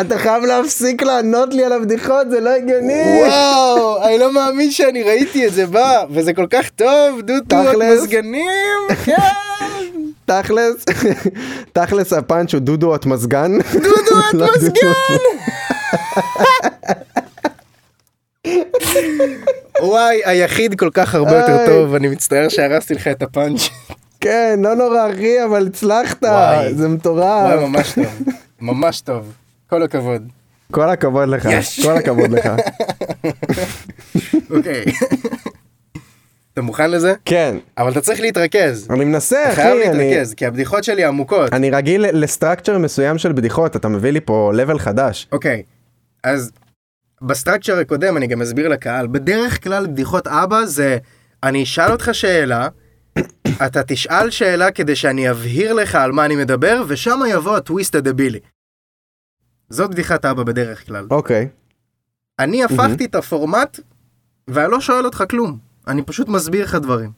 אתה חייב להפסיק לענות לי על הבדיחות, זה לא הגיוני!
וואו, אני לא מאמין שאני ראיתי את זה בא, וזה כל כך טוב, דודו אות
תכלס.
מזגנים, (laughs) כן!
תכלס, (laughs) תכלס הפאנץ' הוא דודו את מזגן.
דודו
(laughs) לא,
את מזגן! וואי, היחיד כל כך הרבה יותר
איי.
טוב, אני מצטער שהרסתי לך את הפאנץ'.
כן, לא נורא אחי, אבל הצלחת,
וואי.
זה מטורף.
וואי, ממש טוב, ממש טוב, כל הכבוד.
כל הכבוד לך,
יש.
כל הכבוד
(laughs)
לך.
אוקיי. (laughs) אתה מוכן לזה?
כן,
אבל אתה צריך להתרכז.
אני מנסה
חייב
אחי, אני-
להתרכז, כי הבדיחות שלי עמוקות.
אני רגיל לסטרקצ'ר מסוים של בדיחות, אתה מביא לי פה level חדש.
אוקיי, אז בסטרקצ'ר הקודם אני גם אסביר לקהל, בדרך כלל בדיחות אבא זה אני אשאל אותך
(coughs)
שאלה, אתה תשאל שאלה כדי שאני אבהיר לך על מה אני מדבר, ושם יבוא הטוויסט הדבילי. זאת בדיחת אבא בדרך כלל.
אוקיי,
אני הפכתי את הפורמט, ואני לא שואל אותך כלום, אני פשוט מסביר לך דברים.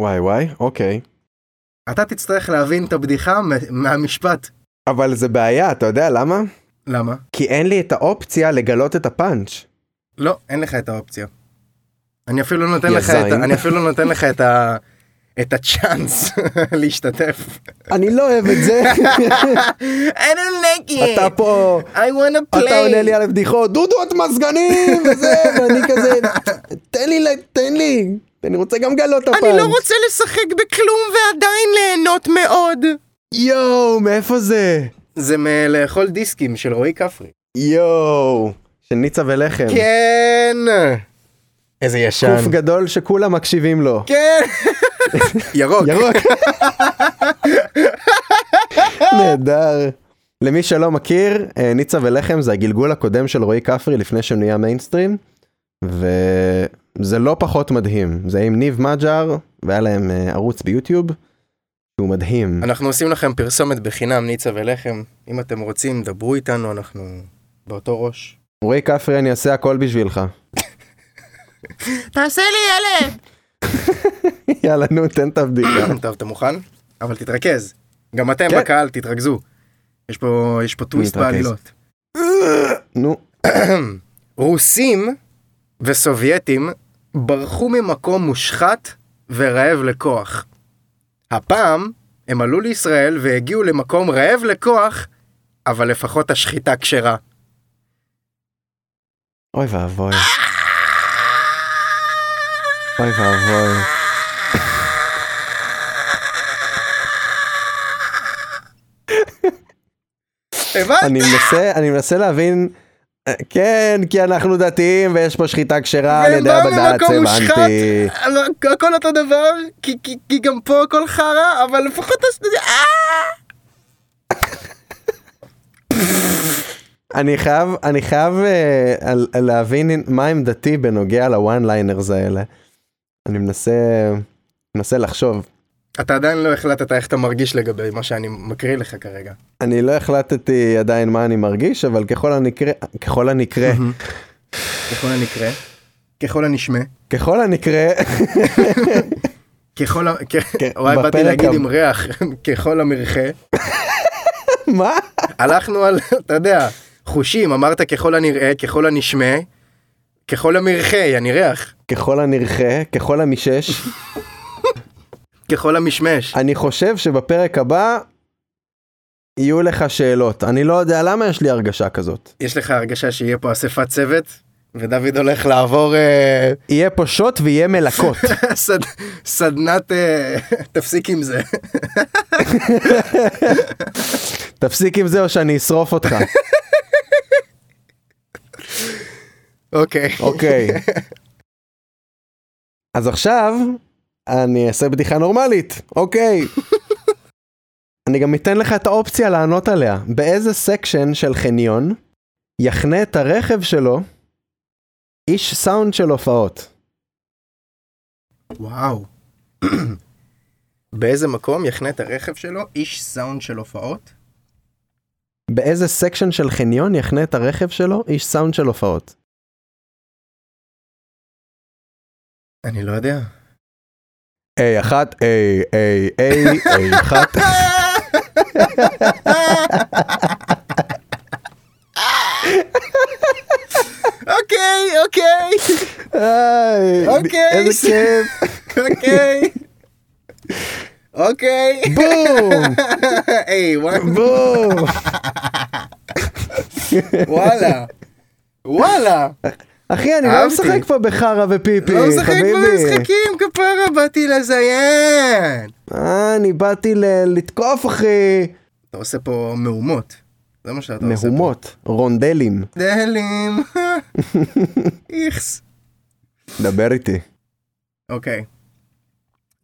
וואי וואי, אוקיי.
אתה תצטרך להבין את הבדיחה מ- מהמשפט.
אבל זה בעיה, אתה יודע למה?
למה?
כי אין לי את האופציה לגלות את הפאנץ'.
לא, אין לך את האופציה. אני אפילו נותן לך את,
יזיים.
ה- אני אפילו נותן לך את ה... את הצ'אנס (laughs)
(laughs)
להשתתף.
אני לא אוהב את זה,
I don't like it.
(laughs) אתה פה...
I want to play.
אתה עונה לי על הבדיחות, דודו את מזגנים, וזה, (laughs) ואני כזה, תן לי, ל- תן לי, אני רוצה גם גלות הפעם.
אני לא רוצה לשחק בכלום ועדיין ליהנות מאוד.
יואו, מאיפה זה?
זה מלאכול דיסקים של רועי כפרי.
יואו, של ניצה ולחם.
כן. איזה ישן.
קוף גדול שכולם מקשיבים לו. (laughs)
כן. ירוק.
ירוק. נהדר. למי שלא מכיר, אה, ניצה ולחם זה הגלגול הקודם של רועי כפרי לפני שהוא נהיה מיינסטרים, וזה לא פחות מדהים. זה עם ניב מג'אר, והיה להם אה, ערוץ ביוטיוב, שהוא מדהים.
אנחנו עושים לכם פרסומת בחינם, ניצה ולחם. אם אתם רוצים, דברו איתנו, אנחנו באותו ראש.
רועי כפרי, אני אעשה הכל בשבילך. (laughs)
תעשה לי ילד.
יאללה, נו, תן את הבדיקה.
(coughs) טוב, אתה מוכן? אבל תתרכז. גם אתם
כן.
בקהל, תתרכזו. יש פה, יש פה טוויסט
נתרכז.
בעלילות.
נו,
רוסים וסובייטים ברחו ממקום מושחת ורעב לכוח. הפעם הם עלו לישראל והגיעו למקום רעב לכוח, אבל לפחות השחיטה כשרה.
אוי ואבוי. אוי ואבוי.
הבנת?
אני מנסה, אני מנסה להבין, אה, כן, כי אנחנו דתיים ויש פה שחיטה כשרה על
והם
ידי
באו
הבד"ץ,
ממקום מושחת,
הבנתי.
אבל הכל אותו דבר, כי- כי- כי גם פה הכל חרא, אבל לפחות... הס- אה!
אני חייב, אני חייב אה, על- על להבין מה עמדתי בנוגע לוואן ליינרס האלה. אני מנסה, מנסה לחשוב.
אתה עדיין לא החלטת איך אתה מרגיש לגבי מה שאני מקריא לך כרגע.
אני לא החלטתי עדיין מה אני מרגיש, אבל ככל הנקרה, ככל הנקרה,
ככל הנקרא, ככל הנשמע,
ככל הנקרה, (laughs)
ככל ה...
כן,
וואי, באתי
בפרק
להגיד
הבא.
עם ריח, (laughs) ככל המרחה.
מה?
הלכנו על, (laughs) אתה יודע, חושים, אמרת ככל הנראה, ככל הנשמע, ככל המרחה, יעני ריח,
ככל הנרחה, ככל המשש.
ככל המשמש.
אני חושב שבפרק הבא יהיו לך שאלות. אני לא יודע למה יש לי הרגשה כזאת.
יש לך הרגשה שיהיה פה אספת צוות, ודוד הולך לעבור אה,
יהיה פה שוט ויהיה מלקות.
סד- סדנת אה, תפסיק עם זה.
תפסיק עם זה או שאני אשרוף אותך.
אוקיי.
אוקיי. אז עכשיו אני אעשה בדיחה נורמלית, אוקיי. אני גם אתן לך את האופציה לענות עליה. באיזה סקשן של חניון יחנה את הרכב שלו איש סאונד של הופעות?
וואו. באיזה מקום יחנה את הרכב שלו איש סאונד של הופעות?
באיזה סקשן של חניון יחנה את הרכב שלו איש סאונד של הופעות?
אני לא יודע.
איי אחת, איי, איי, איי, איי אחת.
אוקיי, אוקיי,
איי,
(laughs) אוקיי.
איזה כיף.
אוקיי. אוקיי.
בום,
היי, וואי,
בום.
וואלה. וואלה.
אחי, אני לא
אהבתי.
משחק פה בחרא ופיפי,
לא משחק
חביבי.
במשחקים, כפרה, באתי לזיין.
אה, אני באתי ל- לתקוף, אחי.
אתה עושה פה מהומות. זה מה שאתה עושה פה.
מהומות, רונדלים.
דלים. איכס.
דבר איתי.
אוקיי.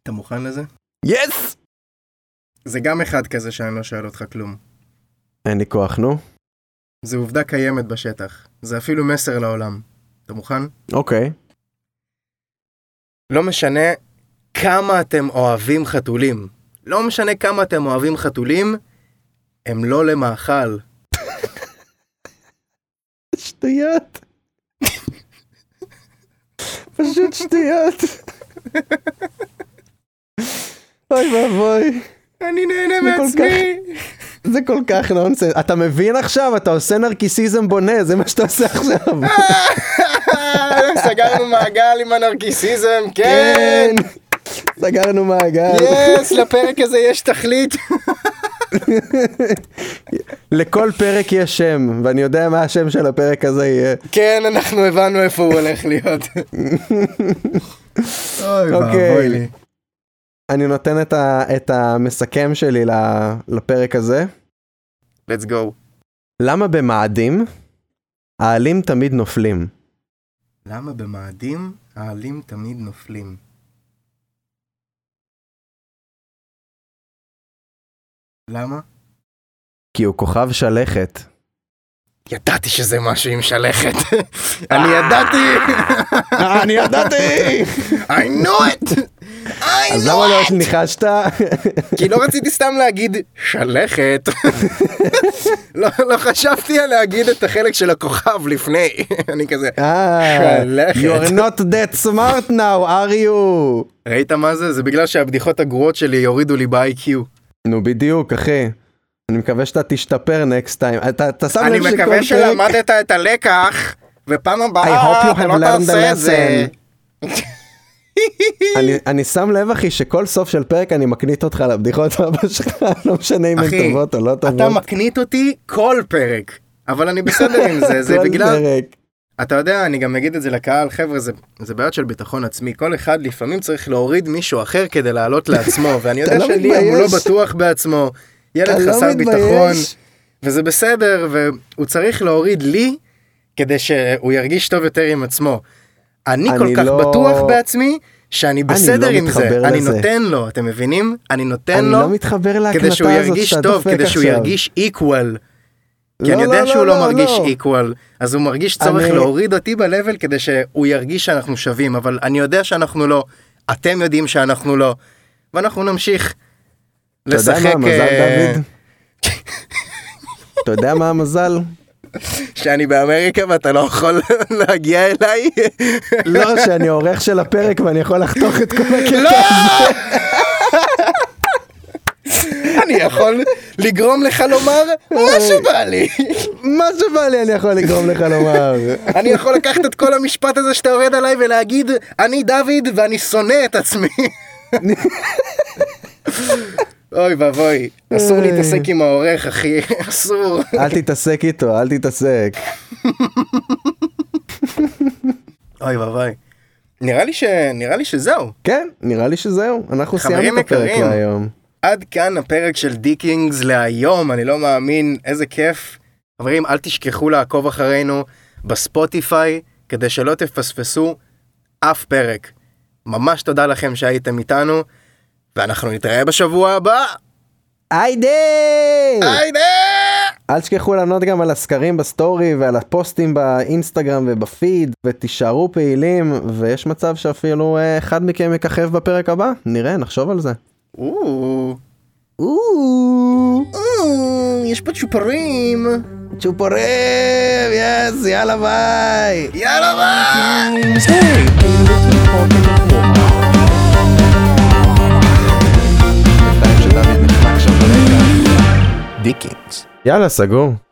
אתה מוכן לזה?
יס!
זה גם אחד כזה שאני לא שואל אותך כלום.
אין לי כוח, נו.
זה עובדה קיימת בשטח. זה אפילו מסר לעולם. אתה מוכן?
אוקיי.
לא משנה כמה אתם אוהבים חתולים. לא משנה כמה אתם אוהבים חתולים, הם לא למאכל.
שטויות. פשוט שטויות. אוי ואבוי.
אני נהנה
זה כל
מעצמי.
זה כל כך נונסנס. אתה מבין עכשיו? אתה עושה נרקיסיזם בונה, זה מה שאתה עושה עכשיו.
(laughs) סגרנו מעגל עם הנרקיסיזם, (laughs)
כן! סגרנו מעגל.
יס, לפרק הזה יש תכלית.
לכל פרק יש שם, ואני יודע מה השם של הפרק הזה יהיה.
כן, אנחנו הבנו איפה הוא
(laughs)
הולך להיות. אוי
אוקיי. אני נותן את, ה, את המסכם שלי ל- לפרק הזה.
let's go.
למה במאדים העלים תמיד נופלים?
למה במאדים העלים תמיד נופלים? למה?
כי הוא כוכב שלכת.
ידעתי שזה משהו עם שלכת. (laughs) אני ידעתי! (laughs) אה,
אני ידעתי!
I know it! I
אז למה
know
לא
it!
ניחשת?
כי לא רציתי סתם להגיד שלכת. (laughs) לא לא חשבתי על להגיד את החלק של הכוכב לפני. (laughs) אני כזה,
אה,
שלכת.
You're not that smart now, are you?
ראית מה זה? זה בגלל שהבדיחות הגרועות שלי יורידו לי ב-IQ.
נו בדיוק, אחי. אני מקווה שאתה תשתפר next time. אתה, אתה שם לב
אני
שכל
מקווה
פרק...
שלמדת את הלקח, ופעם
hope
הבאה
you
אתה
have
לא
learned the
תעשה את זה. (laughs)
אני, אני שם לב אחי שכל סוף של פרק אני מקניט אותך לבדיחות אבא שלך, (laughs) לא משנה אם הן
אחי,
טובות או לא טובות.
אתה מקנית אותי כל פרק, אבל אני בסדר עם זה,
(laughs)
זה
כל
בגלל...
פרק.
אתה יודע, אני גם אגיד את זה לקהל, חבר'ה, זה- זה בעיות של ביטחון עצמי. כל אחד לפעמים צריך להוריד מישהו אחר כדי לעלות לעצמו,
(laughs)
ואני יודע
לא
שליאם הוא לא
מתבייש?
בטוח בעצמו,
אתה
ילד
לא
חסר ביטחון,
מתבייש?
וזה בסדר, והוא צריך להוריד לי כדי שהוא ירגיש טוב יותר עם עצמו. אני
אני
כל כך
לא-
בטוח בעצמי שאני בסדר
לא
עם זה,
מתחבר
אני
לזה.
נותן לו, אתם מבינים? אני נותן
אני
לו
לא מתחבר
כדי שהוא
להקלטה הזאת
ירגיש
שאתה
טוב,
דופק
כדי שהוא
עכשיו.
ירגיש equal. כי
לא,
אני
לא,
יודע שהוא
לא,
לא מרגיש
לא.
equal, אז הוא מרגיש צורך
אני-
להוריד אותי ב-level כדי שהוא ירגיש שאנחנו שווים, אבל אני יודע שאנחנו לא, אתם יודעים שאנחנו לא, ואנחנו נמשיך
אתה יודע מה
לשחק,
המזל
אה,
דוד? אתה יודע מה המזל?
שאני באמריקה ואתה לא יכול (laughs) להגיע אליי.
לא, שאני העורך של הפרק ואני יכול לחתוך את כל
לא!
הקטע.
אני יכול לגרום לך לומר מה שבא לי.
מה שבא לי אני יכול לגרום לך לומר.
אני יכול לקחת את כל המשפט הזה שאתה יורד עליי ולהגיד, אני דוד ואני שונא את עצמי. אוי ואבוי, אסור
איי.
להתעסק עם העורך, אחי, אסור.
אל תתעסק איתו, אל תתעסק.
אוי ואבוי. נראה לי ש... נראה לי שזהו.
כן, נראה לי שזהו, אנחנו
חברים
סיימנו את הפרק
יקרים.
להיום.
עד כאן הפרק של דיקינגס להיום, אני לא מאמין, איזה כיף. חברים, אל תשכחו לעקוב אחרינו בספוטיפיי, כדי שלא תפספסו אף פרק. ממש תודה לכם שהייתם איתנו, ואנחנו נתראה בשבוע הבא.
היידה!
היידה!
אל תשכחו לענות גם על הסקרים בסטורי ועל הפוסטים באינסטגרם ובפיד ותישארו פעילים ויש מצב שאפילו אה, אחד מכם יככב בפרק הבא נראה נחשוב על זה.
או,
או,
או, יש פה צ'ופרים.
צ'ופורים יס יאללה ביי.
יאללה ביי! דיקינגס.
יאללה סגור.